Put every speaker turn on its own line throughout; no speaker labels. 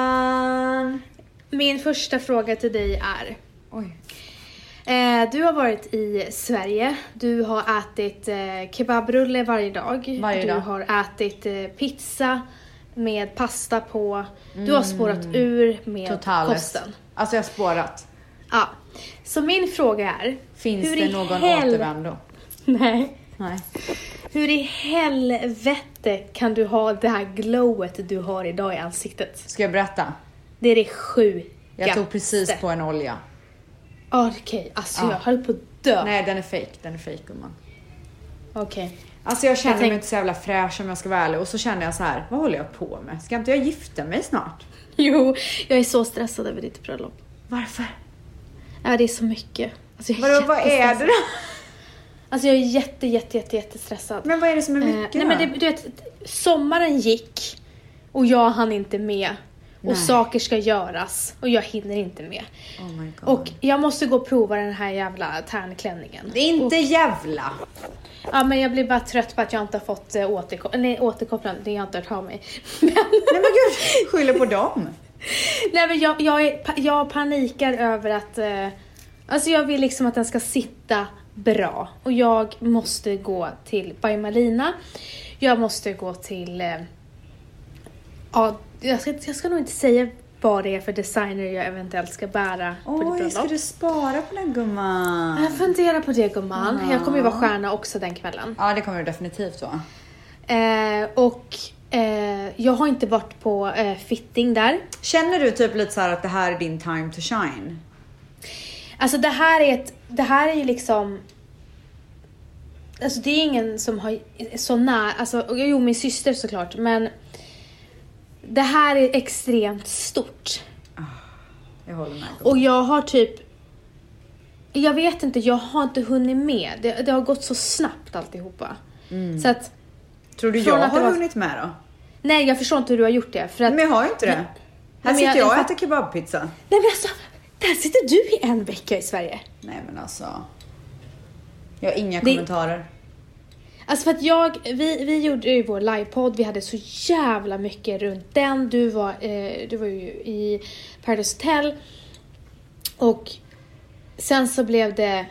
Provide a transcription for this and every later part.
Gumman!
Min första fråga till dig är.
Oj.
Eh, du har varit i Sverige. Du har ätit eh, kebabrulle varje dag.
Varje
du
dag.
har ätit eh, pizza med pasta på. Du
Mm.
har spårat ur med
Totalt.
kosten.
Alltså jag har spårat.
Ja. Så min fråga är.
Finns
hur
det
i
någon
hel-
återvändo?
Nej.
Nej.
Hur i helvete kan du ha det här glowet du har idag i ansiktet?
Ska jag berätta?
Det är det sjukaste.
Jag tog precis på en olja.
Ah, Okej, alltså
Ja.
jag höll på att dö.
Nej, den är fake. Den är fake gumman.
Okej.
Alltså jag känner
Jag tänk-
mig inte så jävla fräsch om jag ska vara ärlig och så känner jag så här, vad håller jag på med? Ska inte jag gifta mig snart?
Jo, jag är så stressad över ditt bröllop.
Varför?
Ja, det är så mycket. Alltså, jag är
Vadå, vad är det
jättestressad.
då?
Alltså jag är jätte, jätte, jätte, jättestressad.
Men vad är det som är
Eh,
mycket
nej
då?
men det, du vet, sommaren gick och jag hann inte med.
Nej.
Och saker ska göras och jag hinner inte med.
Oh my god.
Och jag måste gå och prova den här jävla tärnklänningen.
det är inte jävla!
Ja men jag blir bara trött på att jag inte har fått eh, återko- nej, återkopplande, det har jag inte hört av mig. Men,
Nej men gud, skyller på dem.
nej men jag, jag, är, pa- jag panikar över att, eh, alltså jag vill liksom att den ska sitta bra. Och jag måste gå till By Malina, jag måste gå till, eh, ja jag ska, jag ska nog inte säga vad det är för designer jag eventuellt ska bära på ditt
Oj, ska
bröllop.
du spara på den gumman?
Jag funderar på det gumman,
Ja.
jag kommer ju vara stjärna också den kvällen.
Ja det kommer du definitivt vara.
Eh, och eh, jag har inte varit på eh, fitting där.
Känner du typ lite så här att det här är din time to shine?
Alltså det här är ett, det här är ju liksom Alltså det är ingen som har så nära, alltså jo min syster såklart men Det här är extremt stort.
Jag håller med. gumman.
Och jag har typ Jag vet inte, jag har inte hunnit med. Det, det har gått så snabbt alltihopa. Så att,
Tror du
från
jag
att det
har
var-
hunnit med då?
nej jag förstår inte hur du har gjort det för att
Men jag har ju inte det. Här
men
sitter
jag-
jag och
jag-
äter kebabpizza.
Nej men alltså, där sitter du i en vecka i Sverige.
Nej men alltså. Jag har inga
Det-
kommentarer.
Alltså för att jag, vi, vi gjorde ju vår livepodd, vi hade så jävla mycket runt den. Du var, eh, du var ju i Paradise Hotel. Och sen så blev det,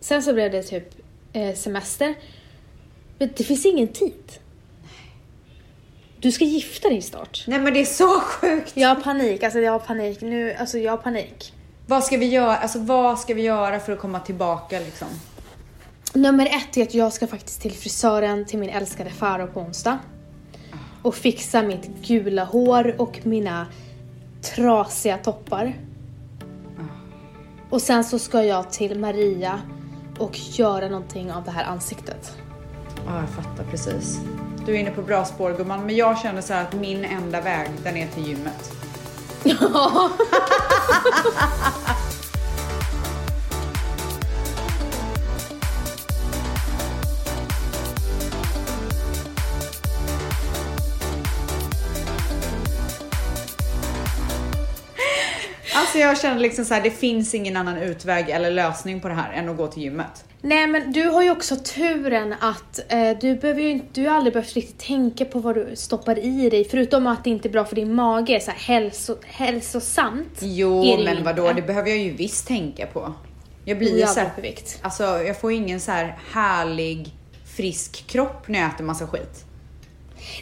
sen så blev det typ eh, semester. Men det finns ingen tid. Du ska gifta dig snart.
Nej men det är så sjukt.
Jag har panik, alltså jag har panik nu, alltså jag har panik.
Vad ska vi göra, alltså vad ska vi göra för att komma tillbaka liksom?
Nummer ett är att jag ska faktiskt till frisören till min älskade Faro på onsdag.
Ah.
Och fixa mitt gula hår och mina trasiga toppar.
Ah.
Och sen så ska jag till Maria och göra någonting av det här ansiktet.
Ja, jag fattar precis. Du är inne på bra spår gumman, men jag känner så här att min enda väg, den är till gymmet. Alltså jag känner liksom så här, det finns ingen annan utväg eller lösning på det här än att gå till gymmet.
Nej men du har ju också turen att eh, du behöver ju inte, du har aldrig behövt riktigt tänka på vad du stoppar i dig förutom att det inte är bra för din mage, så här hälso, hälsosamt.
Jo,
är det ju
men
inte.
vadå, det behöver jag ju visst tänka på. Jag
Du
blir ju
är
så här,
övervikt.
alltså jag får ju ingen så här härlig frisk kropp när jag äter massa skit.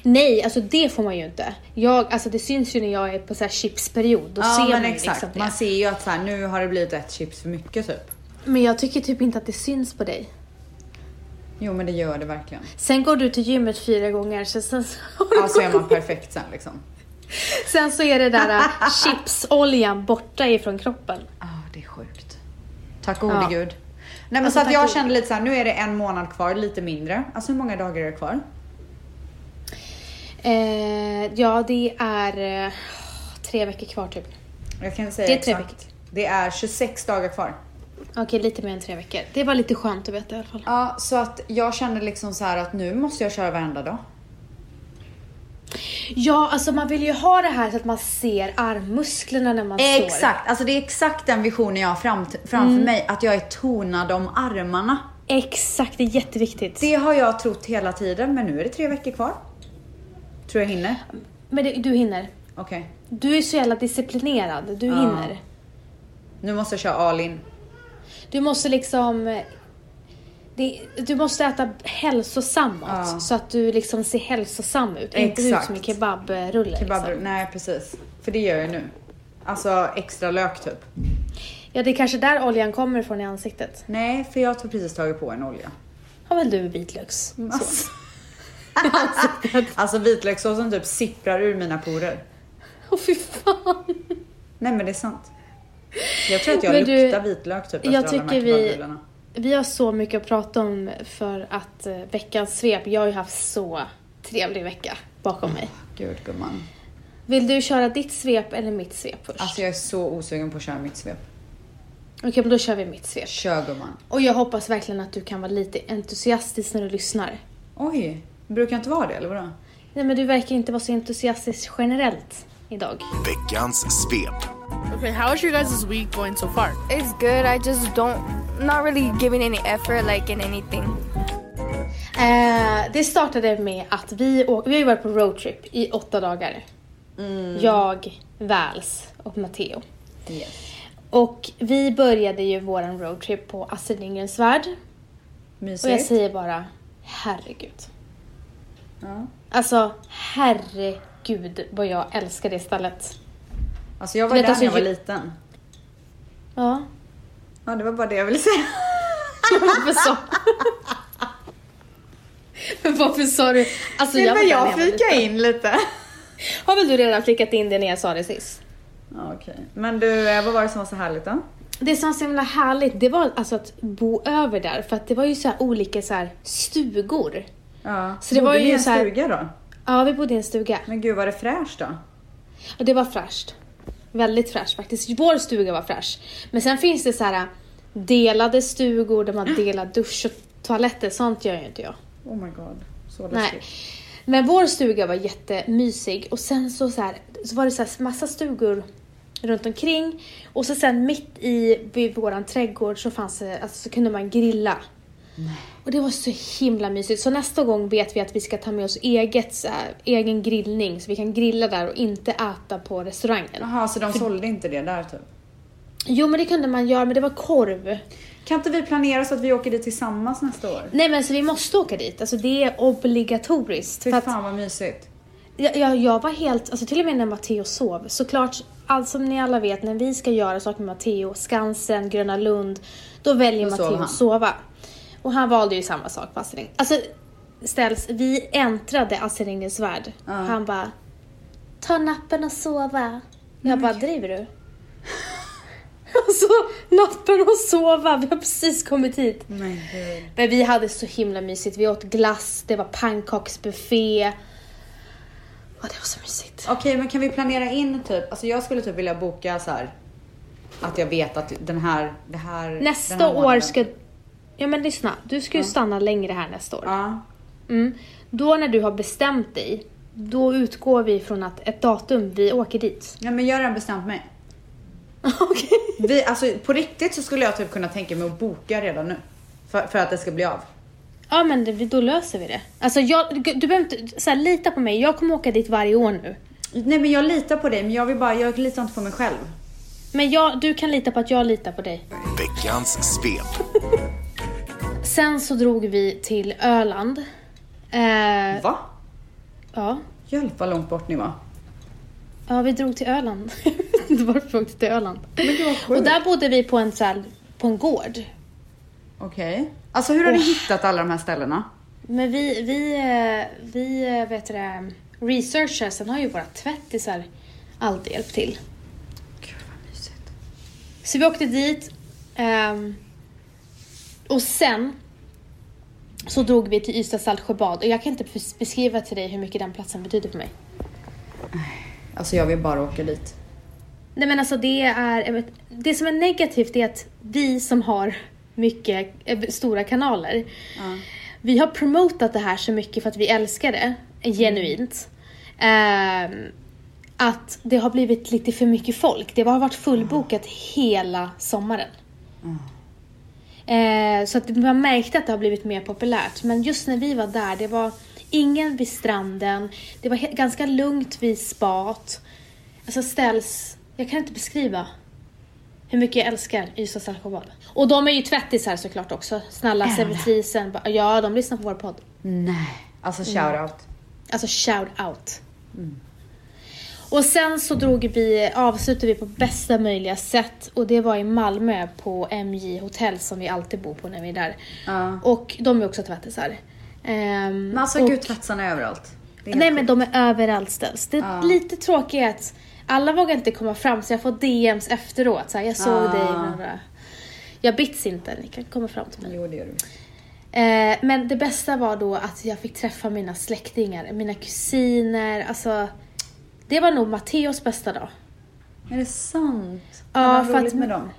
Nej, alltså det får man ju inte. Jag, alltså det syns ju när jag är på så här chipsperiod. Då
ja,
ser
men
man ju
exakt.
liksom det.
man ser ju att så här, nu har det blivit ett chips för mycket typ.
Men jag tycker typ inte att det syns på dig.
Jo, men det gör det verkligen.
Sen går du till gymmet fyra gånger, så sen, så
Alltså är man perfekt sen liksom.
sen så är det där äh, chipsoljan borta ifrån kroppen.
Ja, det är sjukt. Tack gode
Ja.
gud. Nej men
Alltså,
så att
tack
jag
gode-
kände lite så här, nu är det en månad kvar, lite mindre. Alltså hur många dagar är det kvar?
Eh, ja, det är eh, tre veckor kvar typ.
Jag kan säga
Det är tre
exakt.
veckor.
Det typ- är 26 dagar kvar.
Okej, lite mer än tre veckor. Det var lite skönt att veta i alla fall.
Ja, så att jag kände liksom så här att nu måste jag köra varenda dag.
Ja, alltså man vill ju ha det här så att man ser armmusklerna när man står.
Exakt, alltså det är exakt den visionen jag har fram, framför
Mm.
mig, att jag är tonad om armarna.
Exakt, det är jätteviktigt.
Det har jag trott hela tiden, men nu är det tre veckor kvar. Tror jag hinner.
Men det, du hinner.
Okej.
Du är så jävla disciplinerad, du
Ja.
hinner.
Nu måste jag köra all in.
Du måste liksom... Det, du måste äta hälsosamt
Ja.
så att du liksom ser hälsosam ut. Inte ut
Exakt.
som en kebabrulle.
Kebab,
Liksom.
nej precis. För det gör jag nu. Alltså extra lök typ.
Ja, det är kanske där oljan kommer ifrån i ansiktet.
Nej, för jag har precis tagit på en olja.
Har väl du vitlöks?
Alltså, alltså vitlökssåsen typ sipprar ur mina porer.
Åh fy fan!
Nej men det är sant. Jag tror att jag
Men du,
luktar vitlök typ efter
jag
alla de här
tycker vi-
kebabrullarna.
Vi har så mycket att prata om för att eh, veckans svep, jag har ju haft så trevlig vecka bakom mig.
Gud gumman.
Vill du köra ditt svep eller mitt svep först?
Alltså jag är så osugen på att köra mitt svep.
Okej, men då kör vi mitt svep.
Kör gumman.
Och jag hoppas verkligen att du kan vara lite entusiastisk när du lyssnar.
Oj, brukar jag inte vara det eller vadå?
Nej men du verkar inte vara så entusiastisk generellt idag.
Veckans svep.
Okay, how is your guys' week going so far?
It's good. I just don't, not really giving any effort, like in anything.
Eh, det startade med att vi, å- vi har ju varit på roadtrip i åtta dagar. Jag, Vals och Matteo.
Yes.
Och vi började ju våran roadtrip på Astrid Lindgrens Värld. Och jag
Mysigt.
säger bara, herregud.
Ja.
Alltså, herregud vad jag älskar det stället.
Alltså jag var
Du vet,
där
alltså,
när jag var
ju-
liten.
Ja,
Ja det var bara det jag ville säga.
varför sa... Men varför sa du... Alltså,
Nej, men
var där när
jag
var liten.
flikade in lite.
Har väl du redan flickat in det när jag sa det sist?
Ja, Okej. Men du, eh, vad var det som var så härligt då?
Det som var så himla härligt, det var alltså att bo över där. För att det var ju så här olika så här stugor.
Ja.
Så det var
Bodde
ju
ni i en
så här-
stuga då?
Ja, vi bodde i en stuga.
Men gud var det fräscht då?
Och det var fräscht. Väldigt fräscht faktiskt. Vår stuga var fräsch. Men sen finns det så här äh, delade stugor där man delar dusch och toaletter. Sånt gör ju inte jag.
Oh my god. Så
Nej.
läskigt.
Men vår stuga var jättemysig och sen så, så, här, så var det så här massa stugor runt omkring och så sen mitt i vid våran trädgård så, fanns det, alltså, så kunde man grilla. Och det var så himla mysigt. Så nästa gång vet vi att vi ska ta med oss eget, så här, egen grillning så vi kan grilla där och inte äta på restaurangen.
Jaha, så de sålde inte det där typ?
Jo men det kunde man göra men det var korv.
Kan inte vi planera så att vi åker dit tillsammans nästa år?
Nej men så vi måste åka dit. Alltså det är obligatoriskt.
Fy
För att-
fan vad mysigt.
Jag, jag, jag var helt, alltså till och med när Matteo sov, såklart, allt som ni alla vet, när vi ska göra saker med Matteo, Skansen, Gröna Lund, då
Då
väljer
sover
Matteo
han.
att sova. Och han valde ju samma sak på Astrid Lindgren. Alltså, ställs, vi äntrade Astrid Lindgrens värld. Han bara, ta nappen och sova. Jag bara, driver du? alltså, nappen och sova, vi har precis kommit hit.
Men gud.
Men vi hade så himla mysigt. Vi åt glass, det var pannkaksbuffé. Ja, det var så mysigt.
Okej, men kan vi planera in typ, alltså jag skulle typ vilja boka så här att jag vet att den här, det här den
Nästa
här
år
månaden-
ska... Ja men lyssna, du ska ju stanna längre här nästa år.
Ja,
Mm. Då när du har bestämt dig, då utgår vi från att ett datum vi åker dit.
nej men jag har redan bestämt mig.
Okej.
Vi, alltså på riktigt så skulle jag typ kunna tänka mig att boka redan nu. För, för att det ska bli av.
Ja men det, då löser vi det. Alltså jag, du behöver inte, så här, lita på mig, jag kommer åka dit varje år nu.
Nej men jag litar på dig men jag vill bara, jag litar inte på mig själv.
Men jag, du kan lita på att jag litar på dig.
Veckans svep.
Sen så drog vi till Öland. Eh,
Va?
ja,
Hjälp vad långt bort ni var.
Ja, vi drog till Öland. Jag vet inte varför vi åkte till Öland. och där bodde vi på en, så här, på en gård.
Okej. Alltså hur har ni hittat alla de här ställena?
Men vi, vi, eh, vi eh, vet du det, researchar, sen har ju våra tvättisar alltid hjälpt till.
Gud vad mysigt.
Så vi åkte dit. ehm, och sen så drog vi till Ystad Saltsjöbad och jag kan inte bes- beskriva till dig hur mycket den platsen betyder för mig.
Alltså jag vill bara åka dit.
Nej men alltså det är, det som är negativt är att vi som har mycket eh, stora kanaler, vi har promotat det här så mycket för att vi älskar det, eh, genuint. Ehm, att det har blivit lite för mycket folk. Det har varit fullbokat hela sommaren. Eh, så att man märkte att det har blivit mer populärt. Men just när vi var där, det var ingen vid stranden. Det var he- ganska lugnt vid spat. alltså ställs... Jag kan inte beskriva hur mycket jag älskar Ystads alkohol. Och de är ju tvättisar såklart också. Snälla,
Är de det?
servitrisen. bara, Ja, de lyssnar på vår podd.
Nej. Alltså shoutout.
Alltså shout out. Och sen så drog vi, avslutade vi på bästa möjliga sätt och det var i Malmö på MJ hotell som vi alltid bor på när vi är där.
Ja.
Och de är också tvättisar. Ehm,
Men alltså
och-
gud, tvättarna är överallt. Det är
Nej
helt
men de är överallt ställs. Det
Ja.
lite tråkiga är att alla vågar inte komma fram så jag får DMs efteråt. Så här, jag såg
Ja.
dig. bla, bla. Jag bits inte, ni kan komma fram till mig.
sjukt. Jo, det gör du.
Eh, men det bästa var då att jag fick träffa mina släktingar, mina kusiner. Alltså, det var nog Matteos bästa dag.
Är det sant?
Ja,
Hade han
för att-
roligt med dem.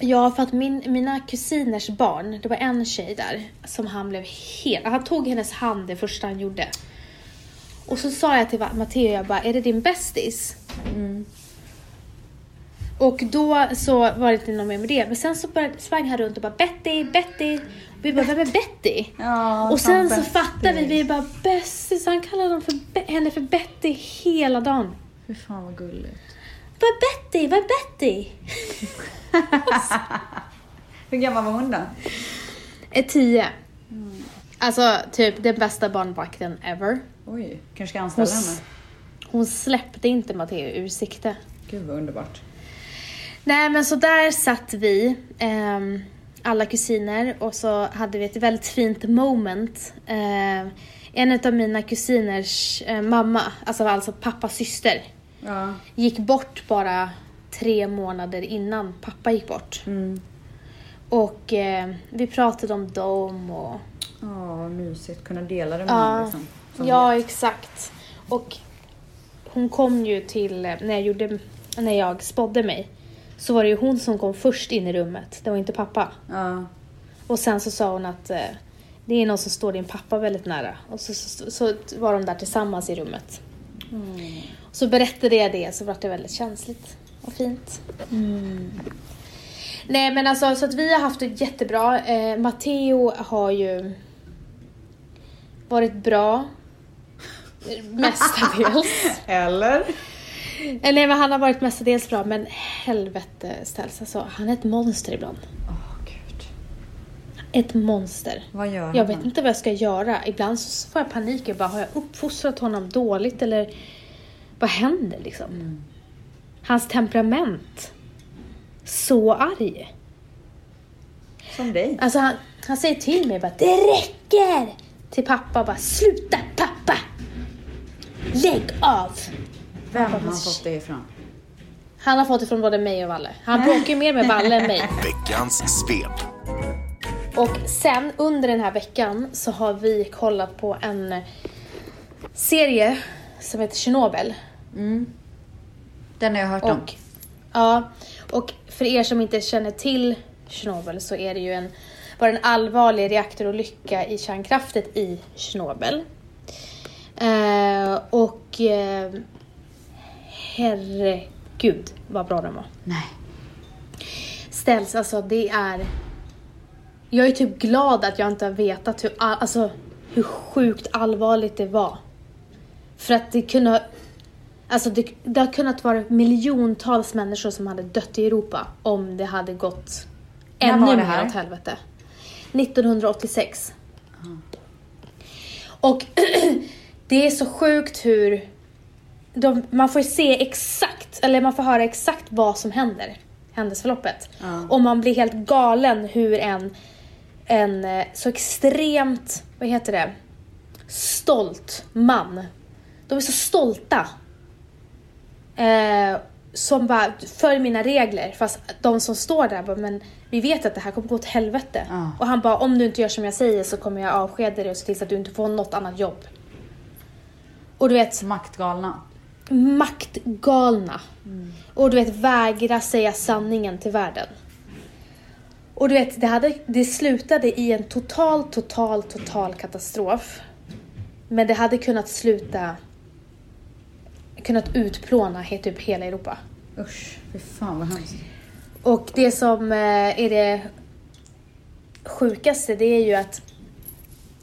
Ja, för att min, mina kusiners barn, det var en tjej där som han blev helt... Han tog hennes hand det första han gjorde. Och så sa jag till Matteo, jag bara, är det din bästis? Mm. Och då så var det inte någon mer med det. Men sen så började, sprang han runt och bara, Betty, Betty. Och vi bara, vem är Betty?
Ja,
och sen så
fan,
fattade vi,
Betty.
vi bara, bästis. Han kallade dem för, Be- henne för Betty hela dagen.
Fy fan vad gulligt.
Vad är Betty? Vad är Betty?
Hur gammal var hon då?
är 10. Alltså typ den bästa barnvakten ever.
Oj, kanske ska jag anställa
Hon s-
henne.
Hon släppte inte Matteo ur sikte.
Gud vad underbart.
Nej men så där satt vi, ehm, alla kusiner och så hade vi ett väldigt fint moment. Ehm, en av mina kusiners eh, mamma, alltså, alltså pappas syster,
Ja.
gick bort bara tre månader innan pappa gick bort. Och eh, vi pratade om dem och
Ja, vad mysigt. Kunna dela det med någon
Ja,
liksom. Som
ja
vet.
exakt. Och hon kom ju till, eh, när jag, gjorde, när jag spådde mig, så var det ju hon som kom först in i rummet, det var inte pappa.
Ja.
Och sen så sa hon att eh, det är någon som står din pappa väldigt nära. Och så, så, så var de där tillsammans i rummet. Så berättade jag det så var det väldigt känsligt och fint. Nej men alltså så att vi har haft det jättebra. Eh, Matteo har ju varit bra. eh, Mestadels.
Eller?
Eller men han har varit mestadels bra men helvete ställs alltså. Han är ett monster ibland.
Åh gud.
Ett monster.
Vad gör
Jag
han?
vet inte vad jag ska göra. Ibland så får jag panik. Jag bara, har jag uppfostrat honom dåligt eller vad händer liksom? Hans temperament. Så arg.
Som dig.
Alltså han, han säger till mig bara, det räcker! Till pappa bara, sluta pappa! Lägg av!
Vem har han fått det ifrån?
Han har fått det från både mig och Valle. Han bråkar ju mer med Valle än mig.
Veckans svep.
Och sen under den här veckan så har vi kollat på en serie som heter Tjernobyl.
Den har jag hört om.
Och, ja, och för er som inte känner till Tjernobyl så är det ju en, var det en allvarlig reaktorolycka i kärnkraftet i Tjernobyl. Eh, och eh, herregud vad bra den var.
Nej.
Ställs, alltså det är... Jag är typ glad att jag inte har vetat hur, all- alltså, hur sjukt allvarligt det var. För att det kunde ha... Alltså det, det har kunnat vara miljontals människor som hade dött i Europa om det hade gått
När
ännu
var det här?
mer åt helvete. 1986. Och det är så sjukt hur... De, man får se exakt, eller man får höra exakt vad som händer. Händelseförloppet. Och man blir helt galen hur en, en eh, så extremt, vad heter det, stolt man. De är så stolta. Eh, som bara, följ mina regler. Fast de som står där bara, men vi vet att det här kommer gå åt helvete.
Ja.
Och han bara, om du inte gör som jag säger så kommer jag avskeda dig och se till så att du inte får något annat jobb. Och du vet,
Maktgalna.
maktgalna. Och du vet, vägra säga sanningen till världen. Och du vet, det, hade, det slutade i en total, total, total katastrof. Men det hade kunnat sluta... Kunnat utplåna he- typ hela Europa.
Usch, fy fan vad hemskt.
Och det som eh, är det sjukaste, det är ju att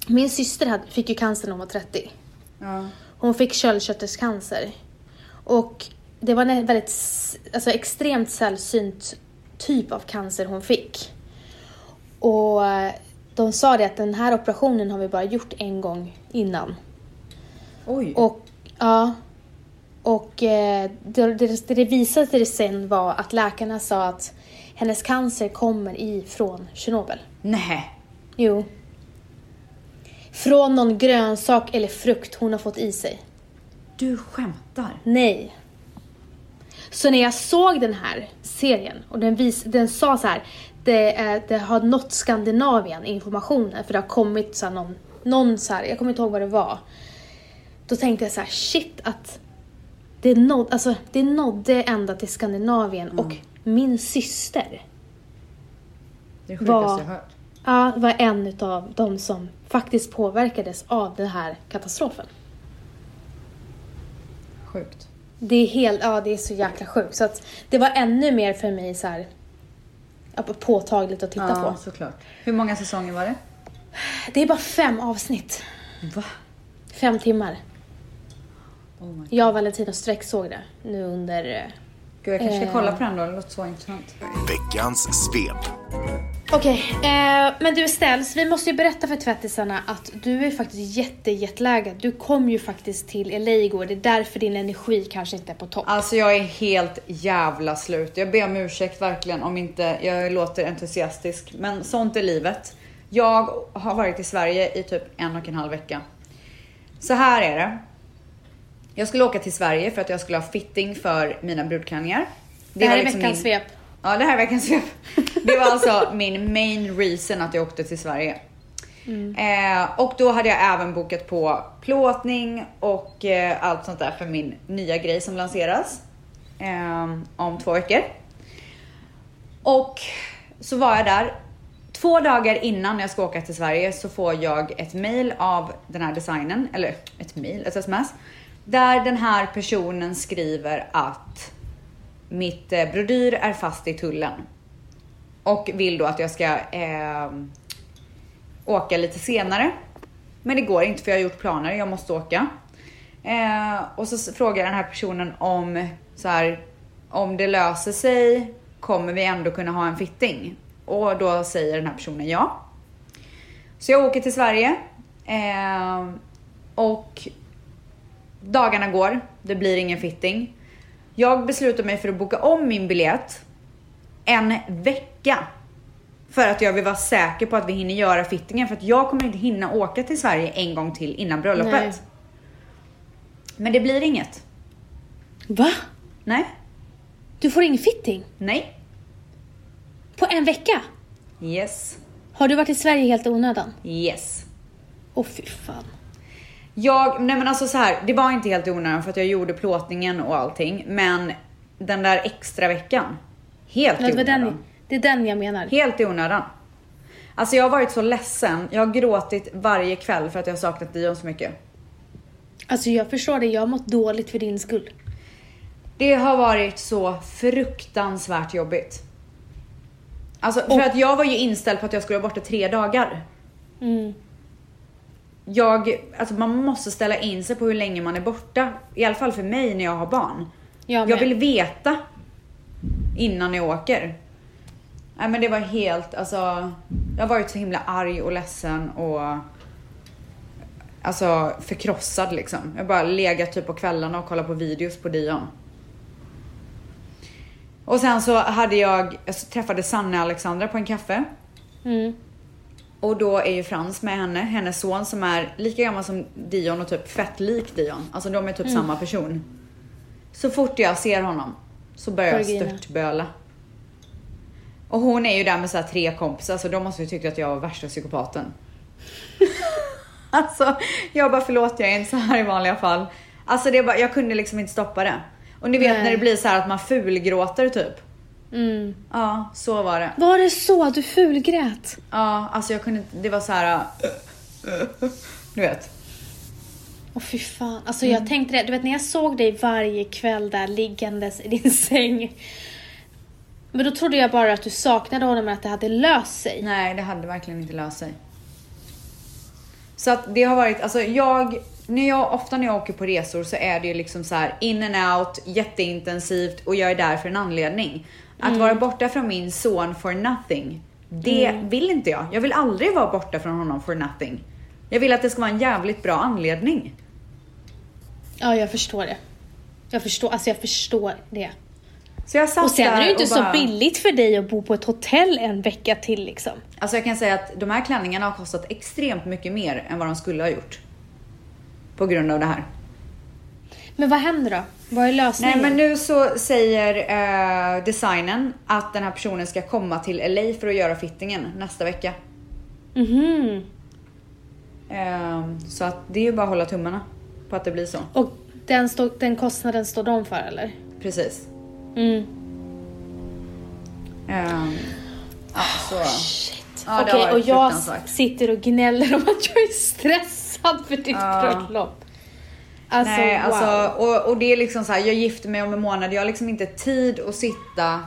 min syster hade, fick ju cancer när hon var 30.
Ja.
Hon fick sköldkörtelcancer. Och det var en väldigt s- alltså, extremt sällsynt typ av cancer hon fick. Och eh, de sa det att den här operationen har vi bara gjort en gång innan.
Oj.
Och, ja. Och eh, det, det, det visade sig sen var att läkarna sa att hennes cancer kommer ifrån Tjernobyl.
Nej.
Jo. Från någon grönsak eller frukt hon har fått i sig.
Du skämtar.
Nej. Så när jag såg den här serien och den, vis, den sa så här, det, är, det har nått Skandinavien informationen för det har kommit så här någon, någon så här, jag kommer inte ihåg vad det var. Då tänkte jag så här, shit att det, nåd, alltså, det nådde ända till Skandinavien och min syster
Det är det sjukaste
Vad-
jag hört.
ja, var en utav de som faktiskt påverkades av den här katastrofen.
Sjukt.
Det är helt, ja det är så jäkla sjukt. Så att det var ännu mer för mig så här ja, påtagligt att titta
Ja,
på.
såklart. Hur många säsonger var det?
Det är bara fem avsnitt.
Va?
Fem timmar.
Oh my.
Jag och Valentino Streck såg det nu under... eh,
Gud, jag kanske ska
Eh.
kolla på den då. Det låter så intressant.
Veckans svep.
Okej, eh, men du Ställs, vi måste ju berätta för tvättisarna att du är faktiskt jättejetlaggad. Du kom ju faktiskt till LA igår, det är därför din energi kanske inte är på topp.
Alltså jag är helt jävla slut. Jag ber om ursäkt verkligen om inte jag låter entusiastisk. Men sånt är livet. Jag har varit i Sverige i typ en och en halv vecka. Så här är det. Jag skulle åka till Sverige för att jag skulle ha fitting för mina brudklänningar.
Det här
var liksom
är veckans
min...
svep.
Ja, det här är veckans svep. Det var alltså min main reason att jag åkte till Sverige.
Mm.
Eh, och då hade jag även bokat på plåtning och eh, allt sånt där för min nya grej som lanseras eh, om två veckor. Och så var jag där. Två dagar innan jag ska åka till Sverige så får jag ett mail av den här designen, eller ett mail, ett sms. Där den här personen skriver att mitt eh, brodyr är fast i tullen. Och vill då att jag ska eh, åka lite senare. Men det går inte för jag har gjort planer, jag måste åka. Eh, och så s- frågar jag den här personen om så här, om det löser sig, kommer vi ändå kunna ha en fitting? Och då säger den här personen ja. Så jag åker till Sverige. Eh, och dagarna går, det blir ingen fitting. Jag beslutar mig för att boka om min biljett en vecka. För att jag vill vara säker på att vi hinner göra fittingen för att jag kommer inte hinna åka till Sverige en gång till innan bröllopet.
Nej.
Men det blir inget.
Va?
Nej,
Du får ingen fitting?
nej,
På en vecka?
yes,
Har du varit i Sverige helt i onödan?
yes.
Åh fy fan.
Jag, nej men alltså så här, det var inte helt i onödan för att jag gjorde plåtningen och allting, men den där extra veckan. Helt i
Ja, Det, var
onödan.
den, det är den jag menar.
Helt i onödan. Alltså jag har varit så ledsen. Jag har gråtit varje kväll för att jag har saknat Dion så mycket.
Alltså jag förstår det, jag har mått dåligt för din skull.
Det har varit så fruktansvärt jobbigt. Alltså för
Och-
att jag var ju inställd på att jag skulle vara borta tre dagar.
Mm.
Jag, alltså man måste ställa in sig på hur länge man är borta. I alla fall för mig när jag har barn.
Jag,
Jag
med.
vill veta innan jag åker. Nej men det var helt, alltså. Jag har varit så himla arg och ledsen och alltså förkrossad liksom. Jag har bara legat typ på kvällarna och kollat på videos på Dion. Och sen så hade jag, jag träffade Sanne Alexandra på en kaffe.
Mm.
Och då är ju Frans med henne, hennes son som är lika gammal som Dion och typ fett lik Dion. Alltså de är typ
Mm.
samma person. Så fort jag ser honom så börjar jag
Börjar grina.
störtböla. Och hon är ju där med så här tre kompisar så de måste ju tycka att jag var värsta psykopaten. alltså jag bara förlåt jag är inte så här i vanliga fall. Alltså det är bara, jag kunde liksom inte stoppa det. Och ni vet
Nej.
när det blir så här att man fulgråter typ.
Mm.
Ja, så var det.
Var det så? Du fulgrät?
Ja, alltså jag kunde inte, det var så här. äh. Du vet.
Åh fy fan. Alltså jag tänkte det, du vet när jag såg dig varje kväll där liggandes i din säng. Men då trodde jag bara att du saknade honom men att det hade löst sig.
Nej, det hade verkligen inte löst sig. Så att det har varit, alltså jag när jag, ofta när jag åker på resor så är det ju liksom så här in and out, jätteintensivt och jag är där för en anledning. Att
Mm.
vara borta från min son for nothing, det
Mm.
vill inte jag. Jag vill aldrig vara borta från honom for nothing. Jag vill att det ska vara en jävligt bra anledning.
Ja, jag förstår det. Jag förstår, alltså jag förstår det.
Så jag satt
Och sen
där
är det ju inte
och
så
bara-
billigt för dig att bo på ett hotell en vecka till liksom.
Alltså jag kan säga att de här klänningarna har kostat extremt mycket mer än vad de skulle ha gjort. På grund av det här.
Men vad händer då? Vad är
Nej
lösningen?
men nu så säger eh, designen att den här personen ska komma till LA för att göra fittingen nästa vecka.
Mhm.
Eh, så att det är ju bara att hålla tummarna på att det blir så.
Och den, stå, den kostnaden står de för eller?
Precis.
Mm.
Eh, ja, så.
Shit.
Ja, det har
Okej, och
varit
jag
fruktansvärt.
sitter och gnäller om att jag är stressad för ditt
Ja.
bröllop. Alltså,
Nej,
wow.
alltså, och, och det är liksom så här, jag gifter mig om en månad, jag har liksom inte tid att sitta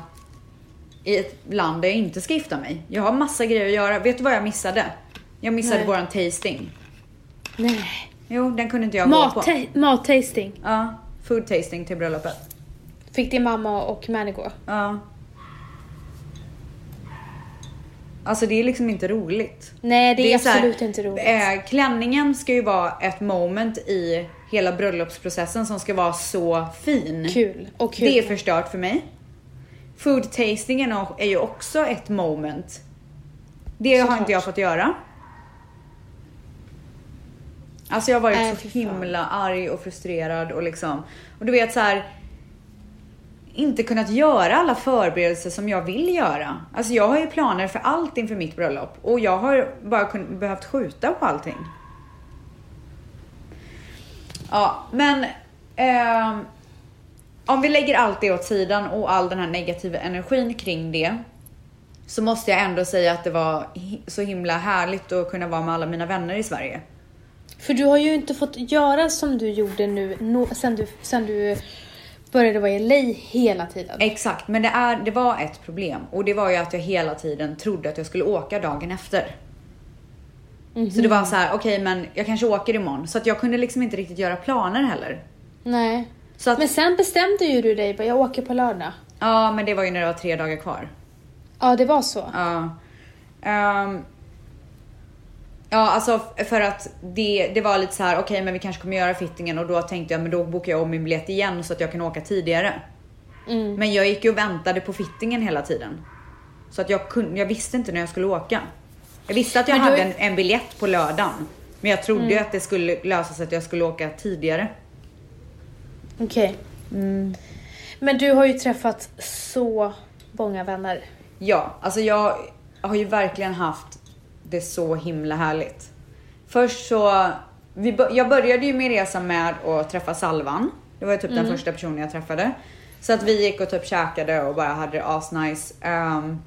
i ett land där jag inte ska gifta mig. Jag har massa grejer att göra. Vet du vad jag missade? Jag missade
Nej.
våran tasting.
Nej.
Jo, den kunde inte jag gå på.
Matta- Mat-tasting.
Ja, food tasting till bröllopet.
Fick din mamma och Mani gå?
Ja. Alltså det är liksom inte roligt.
Nej, det, är
så här,
absolut inte roligt.
Eh, klänningen ska ju vara ett moment i hela bröllopsprocessen som ska vara så fin.
Kul och kul.
Det är förstört för mig. Food tastingen är ju också ett moment. Det har
Såklart.
inte jag fått göra. Alltså jag har varit
Nej,
så
fy fan.
himla arg och frustrerad och liksom. Och du vet så här. Inte kunnat göra alla förberedelser som jag vill göra. Alltså jag har ju planer för allt inför mitt bröllop och jag har bara kun, behövt skjuta på allting. Ja, men ehm, om vi lägger allt det åt sidan och all den här negativa energin kring det så måste jag ändå säga att det var hi- så himla härligt att kunna vara med alla mina vänner i Sverige.
För du har ju inte fått göra som du gjorde nu no, sen, du, sen du började vara i LA hela tiden.
Exakt, men det, är, det var ett problem och det var ju att jag hela tiden trodde att jag skulle åka dagen efter. Så det var så här, okej men jag kanske åker imorgon. Så att jag kunde liksom inte riktigt göra planer heller.
Nej.
Så att,
Men sen bestämde ju du dig, bara, jag åker på lördag.
ja men det var ju när det var tre dagar kvar.
Ja, det var så.
Ja. Ehm, ja, alltså f- för att det, det var lite så här, okej men vi kanske kommer göra fittingen och då tänkte jag men då bokar jag om min biljett igen så att jag kan åka tidigare.
Mm.
Men jag gick ju och väntade på fittingen hela tiden. Så att jag, kunde, jag visste inte när jag skulle åka. Jag visste att jag
Men då- Mm.
hade en, en biljett på lördagen. Men jag trodde ju att det skulle lösa sig att jag skulle åka tidigare.
Okej.
Mm.
Men du har ju träffat så många vänner.
Ja, alltså jag har ju verkligen haft det så himla härligt. Först så, vi, bör- jag började ju min resa med att träffa Salvan. Det var ju typ den första personen jag träffade. Så att vi gick och typ käkade och bara hade det asnice. Ehm,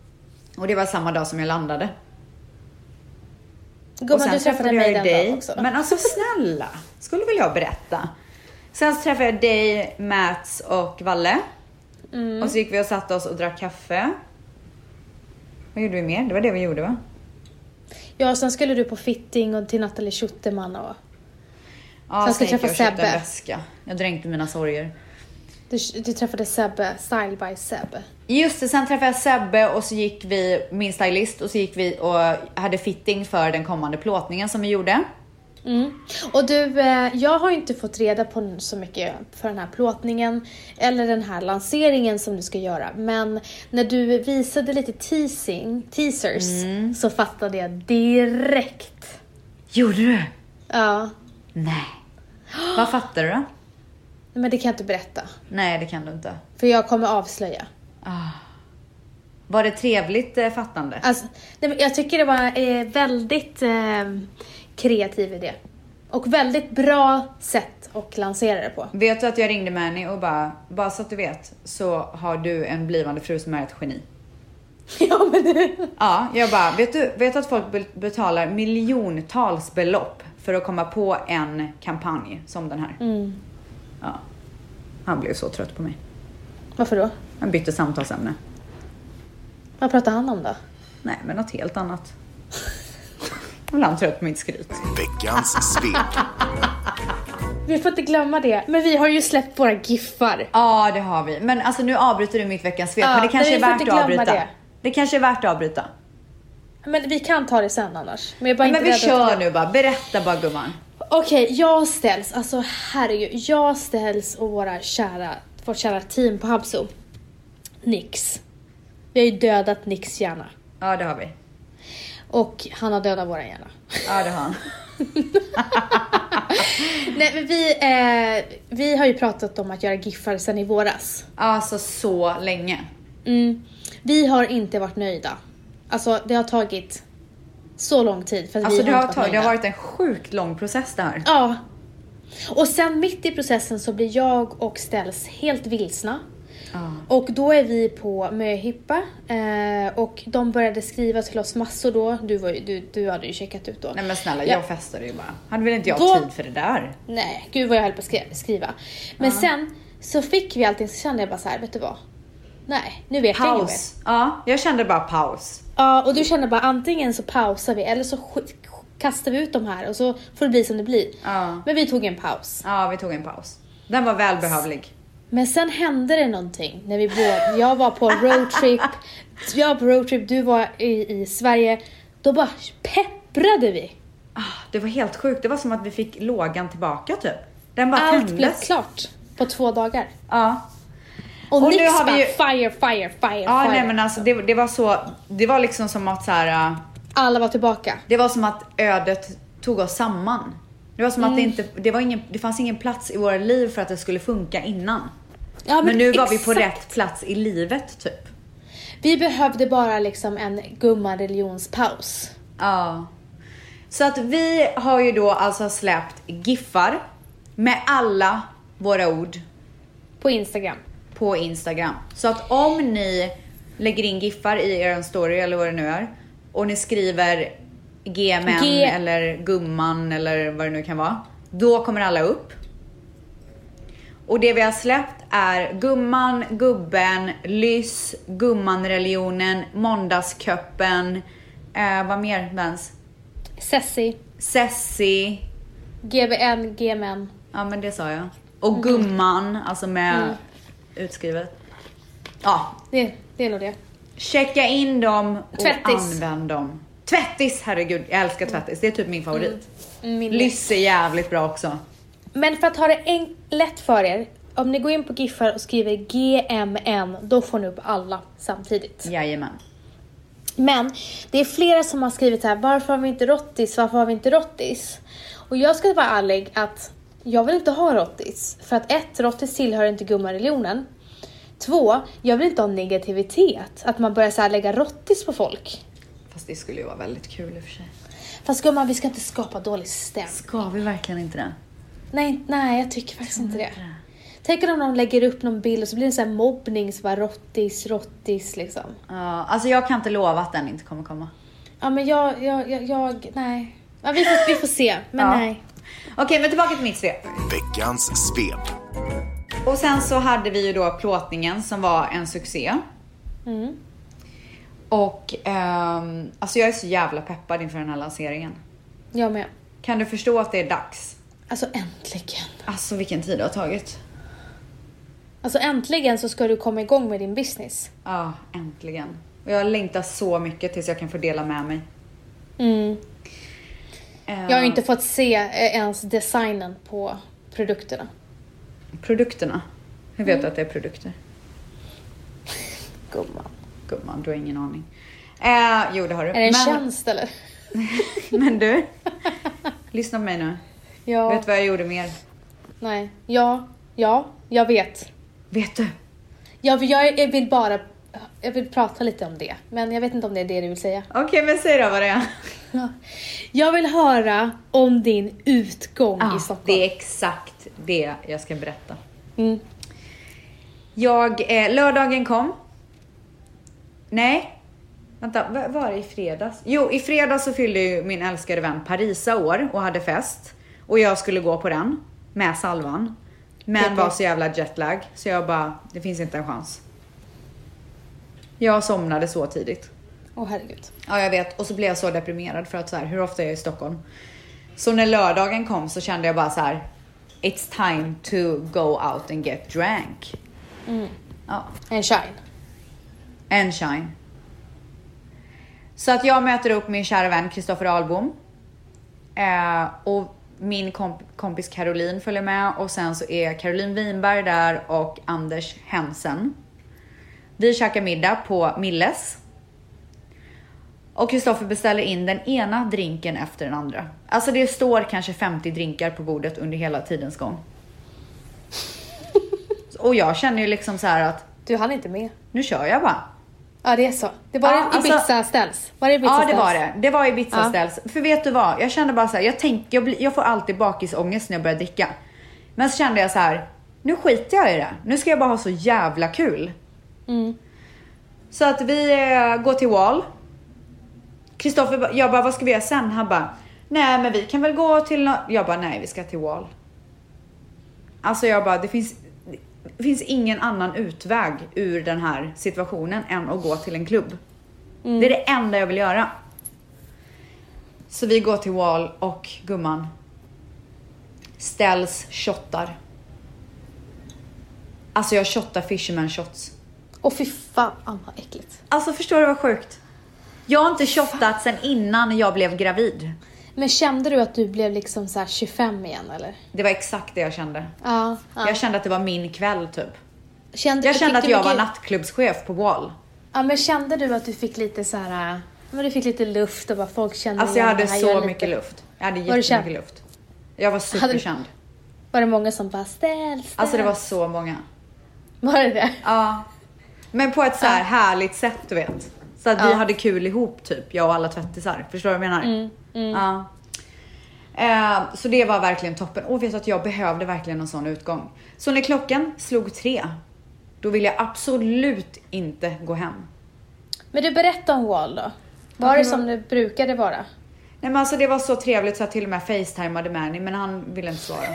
och det var samma dag som jag landade. Och
Gumman,
sen
du träffade mig den dagen också.
Men alltså snälla, skulle väl jag berätta. Sen så träffade jag dig, Mats och Valle.
Mm.
Och så gick vi och satte oss och drack kaffe. Vad gjorde vi mer? Det var det vi gjorde va?
Ja, och sen skulle du på fitting och till Nathalie Schuterman och...
Ja,
Sen ska jag
gick
träffa
och köpte en
Sebbe.
väska. Jag dränkte mina sorger.
Du, du träffade Sebbe, Style by Sebbe.
Just det, sen träffade jag Sebbe och så gick vi, min stylist, och så gick vi och hade fitting för den kommande plåtningen som vi gjorde.
Mm. Och du, eh, jag har ju inte fått reda på så mycket för den här plåtningen eller den här lanseringen som du ska göra. Men när du visade lite teasing, teasers
Mm.
så fattade jag direkt.
Gjorde du?
Ja,
Nej. Vad fattar du då?
men det kan jag inte berätta.
Nej, det kan du inte.
För jag kommer avslöja.
Ah. Var det trevligt eh, fattande?
Alltså, nej, men jag tycker det var eh, väldigt eh, kreativ idé. Och väldigt bra sätt att lansera det på.
Vet du att jag ringde Mani och bara, bara så att du vet så har du en blivande fru som är ett geni.
ja, men...
Ja, jag bara, vet du, vet du att folk be- betalar miljontals belopp för att komma på en kampanj som den här? Ja. Han blev så trött på mig.
Varför då?
Han bytte samtalsämne.
Vad pratar han om då?
Nej, men något helt annat. Nu blev han trött på mitt skryt.
Veckans svep.
Vi får inte glömma det. Men vi har ju släppt våra giffar.
Ja, det har vi. Men alltså nu avbryter du mitt veckans svep,
Ja,
men det kanske
men
är
vi får
värt
inte
att
glömma
avbryta. Det.
det.
kanske är värt att avbryta.
Men vi kan ta det sen annars. Men, jag är bara
men
inte
vi
rädd att-
kör nu bara. Berätta bara gumman.
Okej, jag ställs, alltså herregud, jag ställs och våra kära, vårt kära team på Habso. Nix. Vi har ju dödat Nix hjärna.
Ja, det har vi.
Och han har dödat våran hjärna.
Ja, det har han.
Nej men vi, eh, vi har ju pratat om att göra giffar sedan i våras.
Alltså så länge.
Mm. Vi har inte varit nöjda. Alltså det har tagit så lång tid för att
Alltså
vi
det
har
har,
inte varit
tagit, det
nöjda.
har varit en sjukt lång process det här.
Ja. Och sen mitt i processen så blir jag och ställs helt vilsna. Och då är vi på möhippa eh, och de började skriva till oss massor då. Du, var ju, du, du hade ju checkat ut då.
Nej men snälla,
Ja.
jag festade ju bara. Hade väl inte jag
Då-
tid för det där?
Nej, gud vad jag höll på att skri- skriva. Men sen så fick vi allting så kände jag bara så här, vet du vad? Nej, nu vet jag inget mer.
Paus. Ja, jag kände bara paus.
Ja, och du känner bara antingen så pausar vi eller så sk- kastar vi ut de här och så får det bli som det blir.
Ja.
Men vi tog en paus.
Ja, vi tog en paus. Den var välbehövlig.
Men sen hände det någonting när vi båda, jag var på roadtrip, jag var på roadtrip, du var i, i Sverige. Då bara pepprade vi.
Ah, det var helt sjukt. Det var som att vi fick lågan tillbaka typ. Den bara
Allt blev
tändes.
klart på två dagar.
Ja.
Och,
Och nu
Nix
har vi
bara
ju-
fire, fire, fire,
Ja,
fire.
nej men alltså det, det var så, det var liksom som att så här, äh,
Alla var tillbaka.
det var som att ödet tog oss samman. Det var som att det
Mm.
inte, det var ingen, det fanns ingen plats i våra liv för att det skulle funka innan.
Ja,
men,
men
nu var vi på
exakt.
rätt plats i livet typ.
Vi behövde bara liksom en gumman religionspaus.
Ja. Så att vi har ju då alltså släppt giffar med alla våra ord
På Instagram.
på Instagram. Så att om ni lägger in giffar i er story eller vad det nu är och ni skriver GMN
G-
eller gumman eller vad det nu kan vara. Då kommer alla upp. Och det vi har släppt är gumman, gubben, lyss, gummanreligionen, måndagsköppen, eh, vad mer Vens?
Sessi,
Sessi,
GBN, GMN.
Ja men det sa jag. Och gumman, alltså med utskrivet. Ja,
Det, det är nog det.
checka in dem och
Tvättis.
använd dem. Tvättis, herregud. Jag älskar tvättis. Det är typ min favorit.
Min
Lyss är jävligt bra också.
Men för att ha det en- lätt för er, om ni går in på Giffar och skriver GMN, då får ni upp alla samtidigt.
Jajamän.
Men det är flera som har skrivit så här, varför har vi inte rottis, varför har vi inte rottis? Och jag ska vara ärlig att jag vill inte ha rottis. För att ett, rottis tillhör inte gummareligionen. Två, jag vill inte ha negativitet, att man börjar så här lägga rottis på folk.
Fast det skulle ju vara väldigt kul i och för sig.
Fast gumman, vi ska inte skapa dålig stämning.
Ska vi verkligen inte det?
Nej, nej, jag tycker faktiskt inte det. Tänk om någon lägger upp någon bild och så blir det så här mobbning, så bara rottis, rottis liksom.
Ja, alltså jag kan inte lova att den inte kommer komma.
Ja men jag, jag, jag, jag nej. Ja, vi, får, vi får se, men
Ja.
nej.
Okej, men tillbaka till mitt svep.
Veckans svep.
Och sen så hade vi ju då plåtningen som var en succé. Mm. Och ehm, alltså jag är så jävla peppad inför den här lanseringen.
Jag med.
Kan du förstå att det är dags?
Alltså äntligen.
Alltså vilken tid det har tagit.
Alltså äntligen så ska du komma igång med din business.
Ja, äntligen. Och jag längtar så mycket tills jag kan få dela med mig. Eh,
Jag har ju inte fått se eh, ens designen på produkterna.
Produkterna. Hur vet du
Mm.
att det är produkter?
Gumman.
Gumman, du har ingen aning. Eh, jo, det har du.
Är det en
men,
tjänst eller?
men du, lyssna på mig nu.
Ja.
Vet du vad jag gjorde mer?
Nej. Ja. Ja. Jag vet.
Vet du?
Jag, jag, jag vill bara... Jag vill prata lite om det. Men jag vet inte om det är det du vill säga.
Okej, men säg då vad det är.
Jag vill höra om din utgång i
Ja,
Stockholm.
Ah, det är exakt det jag ska berätta.
Mm.
Jag, eh, lördagen kom. Nej. Vänta, vad var det i fredags? Jo, i fredags så fyllde ju min älskade vän Parisa år och hade fest. Och jag skulle gå på den med Salvan. Men
Okej.
var så jävla jetlag så jag bara, det finns inte en chans. Jag somnade så tidigt.
Åh herregud.
Ja, jag vet. Och så blev jag så deprimerad för att så här, hur ofta är jag i Stockholm? Så när lördagen kom så kände jag bara så här, It's time to go out and get drank. Ja.
En shine.
And shine. Så att jag möter upp min kära vän Kristoffer Ahlbom. Eh, och min komp- kompis Caroline följer med och sen så är Caroline Winberg där och Anders Hensen. Vi käkar middag på Milles. Och Kristoffer beställer in den ena drinken efter den andra. Alltså det står kanske 50 drinkar på bordet under hela tidens gång. Och jag känner ju liksom så här att
Du hann inte med.
nu kör jag bara.
Ja, det är så. Det var
Ja,
ah,
alltså-
Ibiza ställs. Var det Ibiza
Ja, det
ställs?
var det. Det var Ibiza
Ja.
ställs. För vet du vad? Jag kände bara så här, jag, tänk, jag, blir- jag får alltid bakisångest när jag börjar dricka. Men så kände jag så här, nu skiter jag i det. Nu ska jag bara ha så jävla kul.
Mm.
Så att vi eh, går till Wall. Kristoffer, ba- jag bara, vad ska vi göra sen? Han bara, nej men vi kan väl gå till nå-" Jag bara, nej vi ska till Wall. Alltså jag bara, det finns, det finns ingen annan utväg ur den här situationen än att gå till en klubb.
Mm.
Det är det enda jag vill göra. Så vi går till Wall och gumman ställs shottar. Alltså jag shottar fisherman shots.
Åh fy fan vad äckligt.
Alltså förstår du vad sjukt? Jag har inte shottat sen innan jag blev gravid.
Men kände du att du blev liksom så här 25 igen eller?
Det var exakt det jag kände.
Ja. ja.
Jag kände att det var min kväll typ.
kände,
Jag kände
fick
att
du
jag var
mycket-
nattklubbschef på Wall.
Ja men kände du att du fick lite så här, äh, men du fick lite luft och bara folk kände
Alltså jag
igen
hade
det här, jag
så
är
mycket luft. Jag hade
Var du känd?
jättemycket luft. Jag var superkänd.
Var det många som bara ställ, ställ.
Alltså det var så många.
Var det det?
Ja. Men på ett så här härligt sätt du vet. Så att vi
Ja.
hade kul ihop typ, jag och alla tvättisar. Förstår du vad jag menar? Ja. Eh, så det var verkligen toppen. Och vet du att jag behövde verkligen en sån utgång. Så när klockan slog tre, då ville jag absolut inte gå hem.
Men du berättade om Wall då. Var det som det brukade vara?
Nej men alltså det var så trevligt så jag till och med facetimade Mani men han ville inte svara.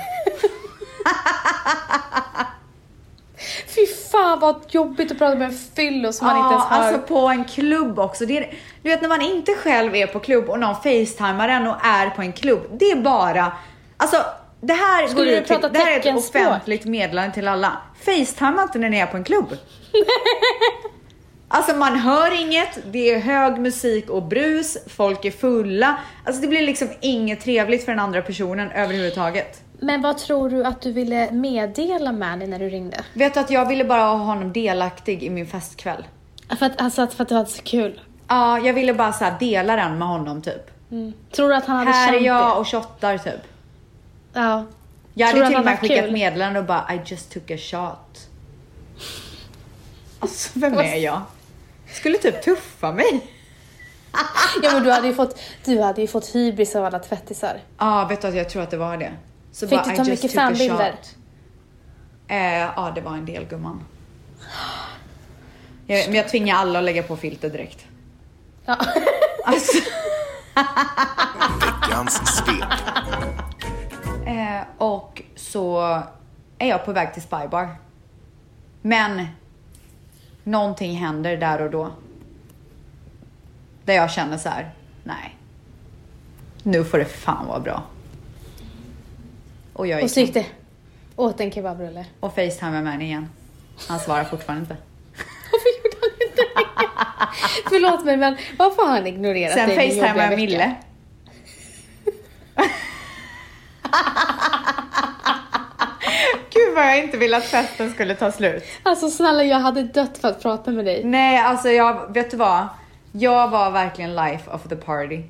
Fy fan vad jobbigt att prata med en fyllo som man inte ens hör.
alltså på en klubb också. Det är, du vet när man inte själv är på klubb och någon facetimar en och är på en klubb. Det är bara, alltså det här,
Skulle
går
du
ut till,
prata
det här är ett
teckenspråk?
offentligt meddelande till alla. Facetima inte när ni är på en klubb. Alltså man hör inget, det är hög musik och brus, folk är fulla. Alltså det blir liksom inget trevligt för den andra personen överhuvudtaget.
Men vad tror du att du ville meddela Manny när du ringde?
Vet du att jag ville bara ha honom delaktig i min festkväll.
För att, alltså, för att det var så kul.
Ja, jag ville bara så här dela den med honom typ.
Tror du att han hade
Här är
känt
jag
det?
och shottar typ.
Ja.
Jag
Tror
hade till
du han
och med
hade
skickat
kul?
meddelande och bara I just took a shot. Alltså vem
Vad-
är jag? Skulle typ tuffa mig.
ja men du hade ju fått, du hade ju fått hybris av alla tvättisar.
Ja, vet du att jag tror att det var det. Så
Fick
bara,
du ta
"I just
mycket
took a
fanbilder?"
shot. Eh, Ja, det var en del gumman. Jag, men jag tvingar alla att lägga på filter direkt.
Ja.
Alltså.
Veckans svep.
Eh, och så är jag på väg till Spybar. Men någonting händer där och då. Där jag känner så här, nej. Nu får det fan vara bra. Och jag
Och
gick
så gick
hem
det. Åt en kebabrulle.
och facetimade med henne igen. Han svarar fortfarande inte.
Varför gjorde han inte det? Förlåt mig men varför har han ignorerat
Sen
dig? i din
facetimade
jobbiga
jag
vecka?
Mille. Gud vad jag inte ville att festen skulle ta slut.
Alltså snälla jag hade dött för att prata med dig.
Nej, alltså jag, vet du vad? Jag var verkligen life of the party.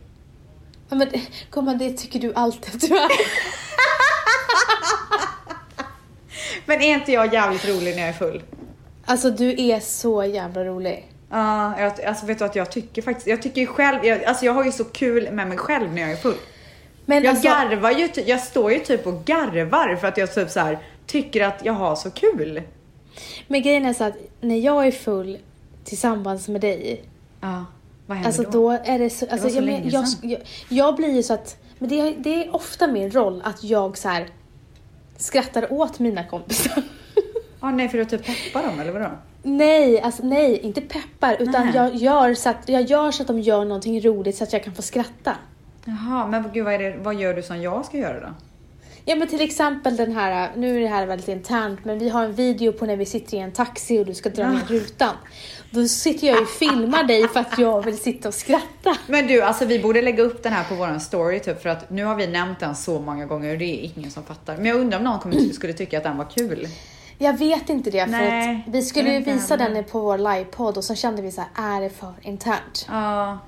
Ja, men gumman det tycker du alltid att du är.
Men är inte jag jävligt rolig när jag är full?
Alltså du är så jävla rolig.
Ja, jag, alltså vet du att jag tycker faktiskt, jag tycker ju själv, jag, alltså jag har ju så kul med mig själv när jag är full.
Men
Jag
alltså,
garvar ju, ty- jag står ju typ och garvar för att jag typ så här tycker att jag har så kul.
Men grejen är så att när jag är full tillsammans med dig,
Ja, vad händer
alltså
då?
då är det så... Alltså,
så
jag,
länge
men, jag,
sedan.
jag, jag blir ju så att... Men det, det är ofta min roll att jag så här skrattar åt mina kompisar.
Ja, nej för att typ peppa dem eller vadå?
nej, alltså nej, inte peppar. Utan
Nej.
jag gör, så att, jag gör så att de gör någonting roligt så att jag kan få skratta.
Jaha, men gud vad, är det, vad gör du som jag ska göra då?
Ja men till exempel den här, nu är det här väldigt internt, men vi har en video på när vi sitter i en taxi och du ska dra ner rutan. Då sitter jag ju och filmar dig för att jag vill sitta och skratta.
Men du, alltså vi borde lägga upp den här på våran story typ för att nu har vi nämnt den så många gånger och det är ingen som fattar. Men jag undrar om någon kommer, typ skulle tycka att den var kul.
Jag vet inte det, för
Nej,
att vi skulle
jag
ju
vet inte
visa
heller.
den på vår livepodd och så kände vi så här, är det för internt?
Ja. men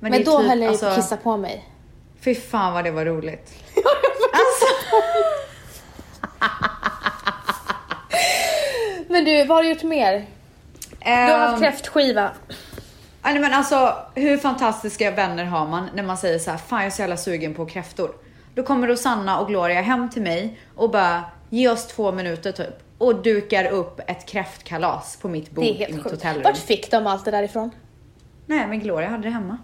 Men
det är
då
typ-
höll jag ju på att
alltså,
kissa på mig.
Fy fan vad det var roligt.
Men du, vad har du gjort mer? Du har haft
Ehm,
kräftskiva.
Ja, Nej, men alltså, hur fantastiska vänner har man när man säger så här, fan jag är så jävla sugen på kräftor. Då kommer Rosanna och Gloria hem till mig och bara, ge oss två minuter typ. Och dukar upp ett kräftkalas på mitt bord
Det är
i
helt
mitt
sjukt.
hotellrum.
Vart fick de allt det där ifrån?
Nej, men Gloria hade det hemma.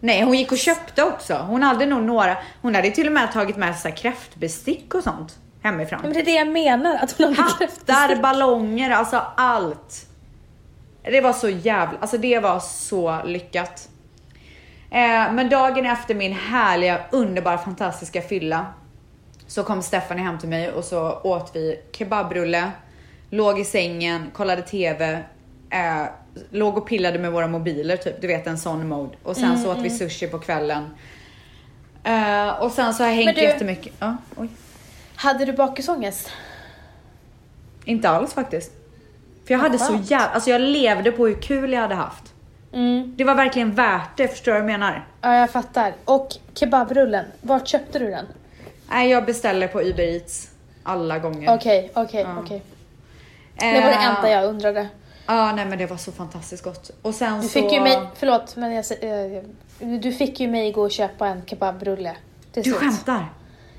Nej, hon gick och köpte också. Hon hade nog några, hon hade till och med tagit med sig kräftbestick och sånt hemifrån.
Ja, men det är det jag menar, att hon hade
Hattar,
kräftbestick.
ballonger, alltså allt. Det var så jävla, alltså det var så lyckat. Eh, men dagen efter min härliga, underbara, fantastiska fylla så kom Stephanie hem till mig och så åt vi kebabrulle, låg i sängen, kollade TV, eh, låg och pillade med våra mobiler typ, du vet en sån mode. Och sen så åt vi sushi på kvällen. Eh, och sen så har jag hängt
du-
jättemycket. Ja, oj.
Hade du bakisångest?
Inte alls faktiskt. För jag hade så jävla, alltså jag levde på hur kul jag hade haft.
Mm.
Det var verkligen värt det, förstår du vad jag menar?
Ja, jag fattar. Och kebabrullen, vart köpte du den?
Nej, jag beställer på Uber Eats alla gånger.
Okej, okej, okej. Det var det
Eh.
enda jag undrade.
Ja, nej men det var så fantastiskt gott. Och sen
Du
så...
fick ju mig, förlåt, men jag, sä- eh, du fick ju mig gå och köpa en kebabrulle. till
Du
slut.
skämtar?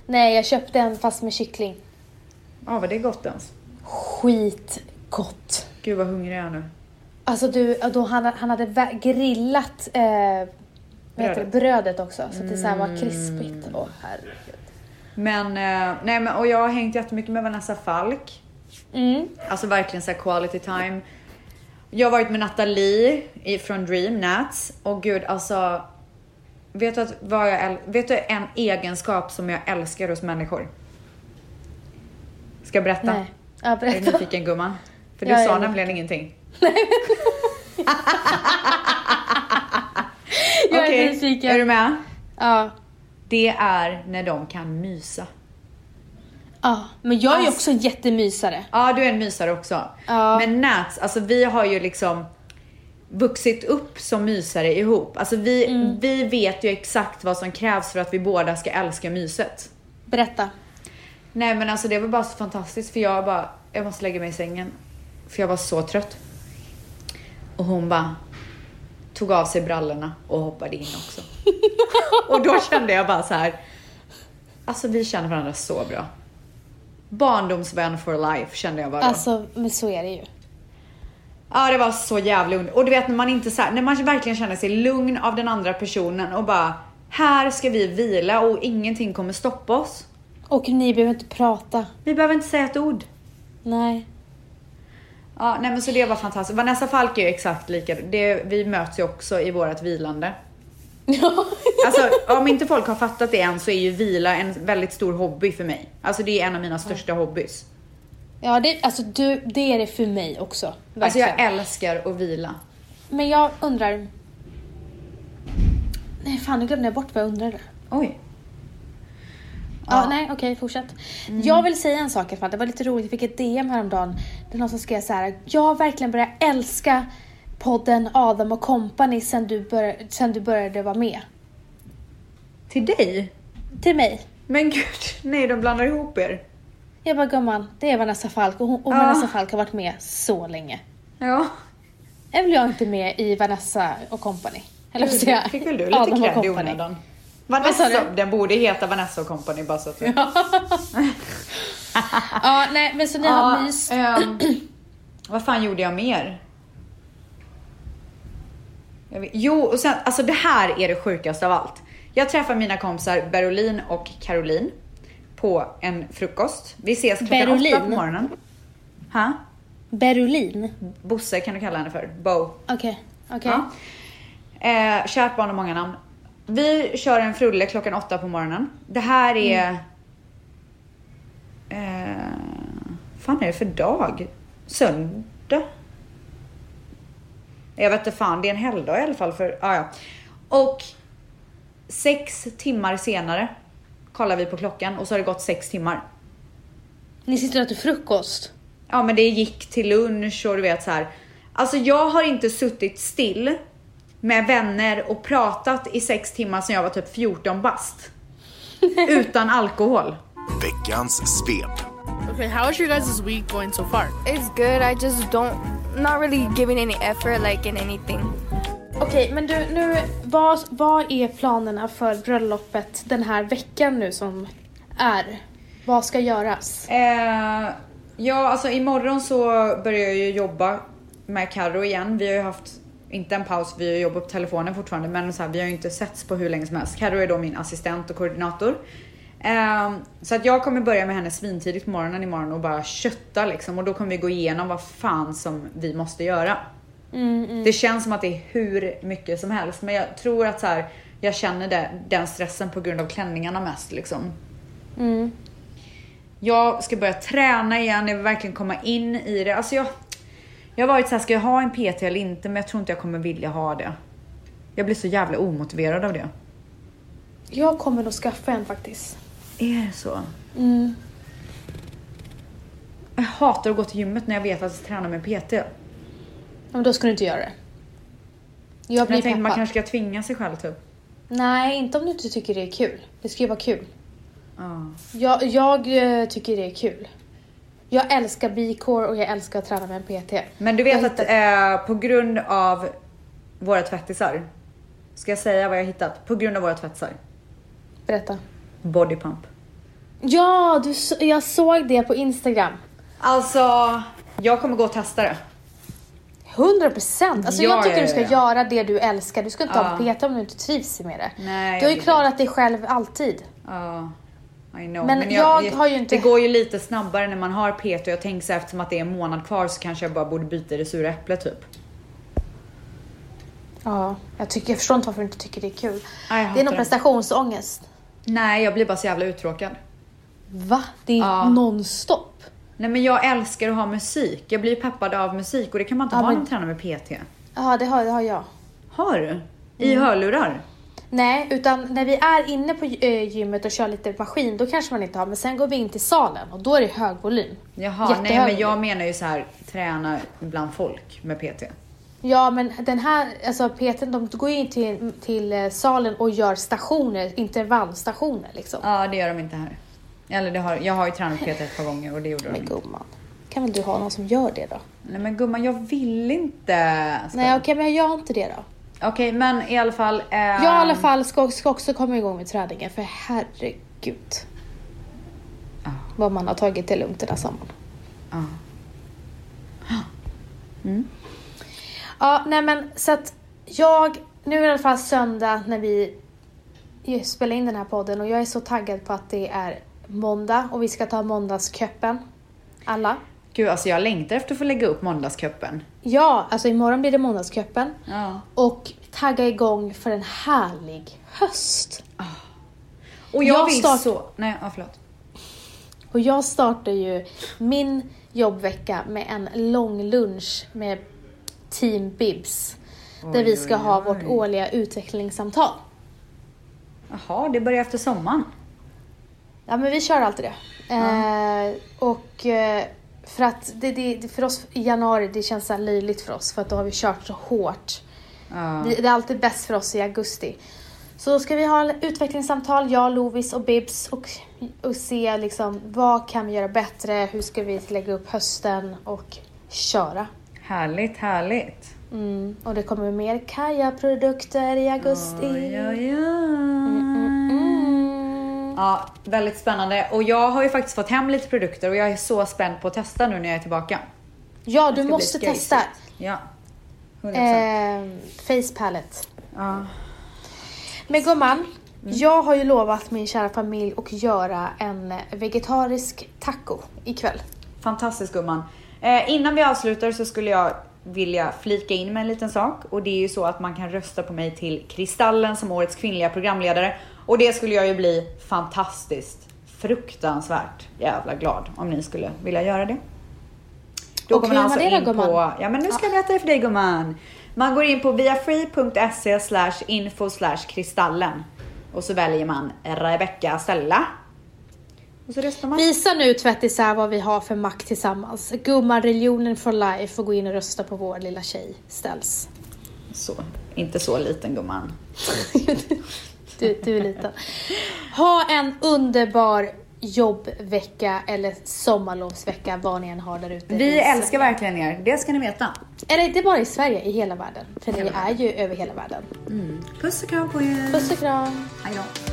Nej, jag köpte en fast med kyckling.
Ja, vad det är gott ens.
Skitgott.
Gud vad hungrig jag är nu.
Alltså du, då han, han hade vä- grillat eh, vad heter det,
Brödet. Mm.
brödet också så att det så här var krispigt. Åh herregud.
Men, eh, nej men och jag har hängt jättemycket med Vanessa Falk.
Mm.
Alltså verkligen så här quality time. Jag har varit med Nathalie i- från Dream Nats och gud alltså. Vet du, att, vad jag, äl- vet du en egenskap som jag älskar hos människor? Ska jag berätta?
Nej. Ja,
Jag är
berätta.
nyfiken gumman. För du
Ja, jag
sa
är
nämligen ingenting.
Jag är
Okej,
nyfiken.
Är du med?
Ja.
Det är när de kan mysa.
ja. Men jag är ju
Ass-
också en jättemysare.
Ja, du är en mysare också.
Ja.
Men Nats, alltså vi har ju liksom vuxit upp som mysare ihop. Alltså vi, vi vet ju exakt vad som krävs för att vi båda ska älska myset.
Berätta.
Nej men alltså det var bara så fantastiskt för jag bara, jag måste lägga mig i sängen. För jag var så trött. Och hon bara tog av sig brallorna och hoppade in också. och då kände jag bara så här. Alltså vi känner varandra så bra. Barndomsvän for life kände jag bara då.
Alltså, men så är det ju.
Ja det var så jävla under. Och du vet när man inte så här, när man verkligen känner sig lugn av den andra personen och bara här ska vi vila och ingenting kommer stoppa oss.
Och ni behöver inte prata.
Vi behöver inte säga ett ord.
Nej.
Ja, nej men så det var fantastiskt. Vanessa Falk är ju exakt lika. Det, vi möts ju också i vårat vilande.
Ja.
Alltså om inte folk har fattat det än så är ju vila en väldigt stor hobby för mig. Alltså det är en av mina största hobbys.
Ja, det, alltså, du, det är det för mig också.
Alltså
Verkligen.
jag älskar att vila.
Men jag undrar... Nej, fan nu glömde jag bort vad jag undrade.
Oj.
Ja, nej, okej, fortsätt.
Mm.
Jag vill säga en sak i alla fall. Det var lite roligt, jag fick ett DM häromdagen. Det är någon som skrev så här. Jag har verkligen börjat älska podden Adam och Company sen du, bör- sen du började vara med.
Till dig?
Till mig.
Men gud, nej de blandar ihop er.
Jag bara, gumman, det är Vanessa Falk och, hon, och
Ja.
Vanessa Falk har varit med så länge.
Ja.
Är väl jag inte med i Vanessa och Company? Eller vad säger
Du
jag?
fick väl du
Adam
lite
och
cred i
Company.
onödan?
Vad sa
Vanessa,
du?
den borde heta Vanessa och Company bara så att du... Ja,
Ja, nej, men så ni har mys.
ehm, Vad fan gjorde jag mer? Jag vet, jo, och sen, alltså det här är det sjukaste av allt. Jag träffar mina kompisar Berolin och Caroline på en frukost. Vi ses klockan åtta på
Berolin?
morgonen. Ha?
Berolin.
Bosse kan du kalla henne för. Bo.
Okej, okej.
Ja. Eh, kärt barn har många namn. Vi kör en frulle klockan åtta på morgonen. Det här är Eh, fan är det för dag? Söndag? Jag vet inte fan, det är en helgdag i alla fall. För, ah, ja. Och sex timmar senare kollar vi på klockan och så har det gått sex timmar.
Ni sitter och äter frukost.
Ja men det gick till lunch och du vet så här. Alltså jag har inte suttit still med vänner och pratat i sex timmar sedan jag var typ 14 bast. Utan alkohol.
Veckans svep.
Okay, how is your guys' week going so far?
It's good. I just don't, not really giving any effort, like in anything.
Okej, men du, nu, vad, vad är planerna för bröllopet den här veckan nu som är? Vad ska göras?
Eh, ja, alltså imorgon så börjar jag ju jobba med Karo igen. Vi har ju haft, inte en paus, vi har jobbat på telefonen fortfarande, men så här, vi har ju inte setts på hur länge som helst. Karo är då min assistent och koordinator. Eh, så att jag kommer börja med henne svintidigt på morgonen imorgon och bara kötta liksom. Och då kommer vi gå igenom vad fan som vi måste göra. Det känns som att det är hur mycket som helst, men jag tror att så här, jag känner det, den stressen på grund av klänningarna mest liksom. Jag ska börja träna igen, jag vill verkligen komma in i det. Alltså jag, jag har varit såhär, ska jag ha en PT eller inte? Men jag tror inte jag kommer vilja ha det. Jag blir så jävla omotiverad av det.
Jag kommer nog skaffa en faktiskt.
Är det så?
Mm.
Jag hatar att gå till gymmet när jag vet att jag ska träna med PT.
Ja, Men då ska du inte göra det. Jag
Men
blir
jag tänkte
peppad.
man kanske ska tvinga sig själv typ.
Nej, inte om du inte tycker det är kul. Det ska ju vara kul.
Ja.
Jag, jag eh, tycker det är kul. Jag älskar B-core och jag älskar att träna med en PT.
Men du vet
Jag
att eh, på grund av våra tvättisar. Ska jag säga vad jag har hittat? På grund av våra tvättisar.
Berätta.
Bodypump.
Ja, du, så- jag såg det på Instagram.
Alltså, jag kommer gå och testa det.
100 procent! Alltså
Ja,
jag tycker
ja,
du ska
ja, ja.
göra det du älskar. Du ska inte ha en
Ja.
PT om du inte trivs med det.
Nej, jag
du har ju
vill
klarat dig själv alltid.
Ja, I know.
Men jag har ju inte-
Det går ju lite snabbare när man har PT och jag tänker så här, eftersom att det är en månad kvar så kanske jag bara borde byta i det sura äpplet typ.
Ja, jag, tycker, jag förstår inte varför du inte tycker det är kul.
Ja, jag
det är
hatar
någon
det.
prestationsångest.
Nej, jag blir bara så jävla uttråkad.
Va? Det är
Ja.
nonstop.
Nej men jag älskar att ha musik. Jag blir peppad av musik och det kan man inte
Ja,
ha
men-
när man tränar med PT.
Ja, det har, det har jag.
Har du? I
Mm.
hörlurar?
Nej, utan när vi är inne på eh, gymmet och kör lite maskin, då kanske man inte har. Men sen går vi in till salen och då är det hög volym.
Jaha, nej
Jättehög
men jag menar ju så här träna bland folk med PT.
Ja, men den här, alltså PT, de går ju in till, till eh, salen och gör stationer, intervallstationer liksom.
Ja, det gör de inte här. Eller det har, jag har ju tränat PT ett par gånger och det gjorde de
Men
inte.
gumman, kan väl du ha någon som gör det då?
Nej men gumman, jag vill inte. Ska-
Nej, okej, men jag gör inte det då.
Okej, men i alla fall. ehm,
Jag i alla fall ska, ska också komma igång med träningen, för herregud. Vad man har tagit det lugnt den här sommaren.
Ja.
Ja, nej men så att jag, nu är det i alla fall söndag när vi ju spelar in den här podden och jag är så taggad på att det är måndag och vi ska ta måndagsköppen. Alla.
Gud, alltså jag längtar efter att få lägga upp måndagscupen.
Ja, alltså imorgon blir det måndagsköppen.
Ja.
Och tagga igång för en härlig höst.
Och jag,
Jag
vill
start-
så... Nej, ja, förlåt.
Och jag startar ju min jobbvecka med en lång lunch med Team Bibs. Där
Oj,
vi ska
oj,
ha
oj.
vårt årliga utvecklingssamtal.
Jaha, det börjar efter sommaren.
Ja men vi kör alltid det. Eh, och eh, för att det, det, det- för oss i januari det känns så här löjligt för oss för att då har vi kört så hårt.
Ja.
Vi, det är alltid bäst för oss i augusti. Så då ska vi ha en utvecklingssamtal, jag, Lovis och Bibs och, och se liksom vad kan vi göra bättre, hur ska vi lägga upp hösten och köra.
Härligt, härligt.
Mm. Och det kommer mer Kaja-produkter i augusti.
Oj, oj, oj.
Mm.
Ja, väldigt spännande. Och jag har ju faktiskt fått hem lite produkter och jag är så spänd på att testa nu när jag är tillbaka.
Ja, du
Det
måste
blir
testa.
skojsigt. Ja. 100%.
Eh, face palette.
Ja. Mm.
Men gumman, jag har ju lovat min kära familj att göra en vegetarisk taco ikväll.
Fantastiskt gumman. Eh, innan vi avslutar så skulle jag vilja flika in med en liten sak och det är ju så att man kan rösta på mig till Kristallen som årets kvinnliga programledare och det skulle jag ju bli fantastiskt fruktansvärt jävla glad om ni skulle vilja göra det. Då
Och
går man
hur gör
alltså
man det då,
in på,
gumman?
ja men nu ska jag berätta det för dig gumman. Man går in på viafree.se slash info slash kristallen och så väljer man Rebecca Stella. Och så röstar man.
Visa nu tvättisar vad vi har för makt tillsammans. Gumman, religionen for life och gå in och rösta på vår lilla tjej ställs.
Så, inte så liten gumman.
Du, du är liten. Ha en underbar jobbvecka eller sommarlovsvecka, vad ni än har där ute.
Vi
i-
älskar verkligen er, det ska ni veta.
Eller inte bara i Sverige, i hela världen. För ni är ju över hela världen.
Puss och kram på er.
Puss och kram!
Hej då.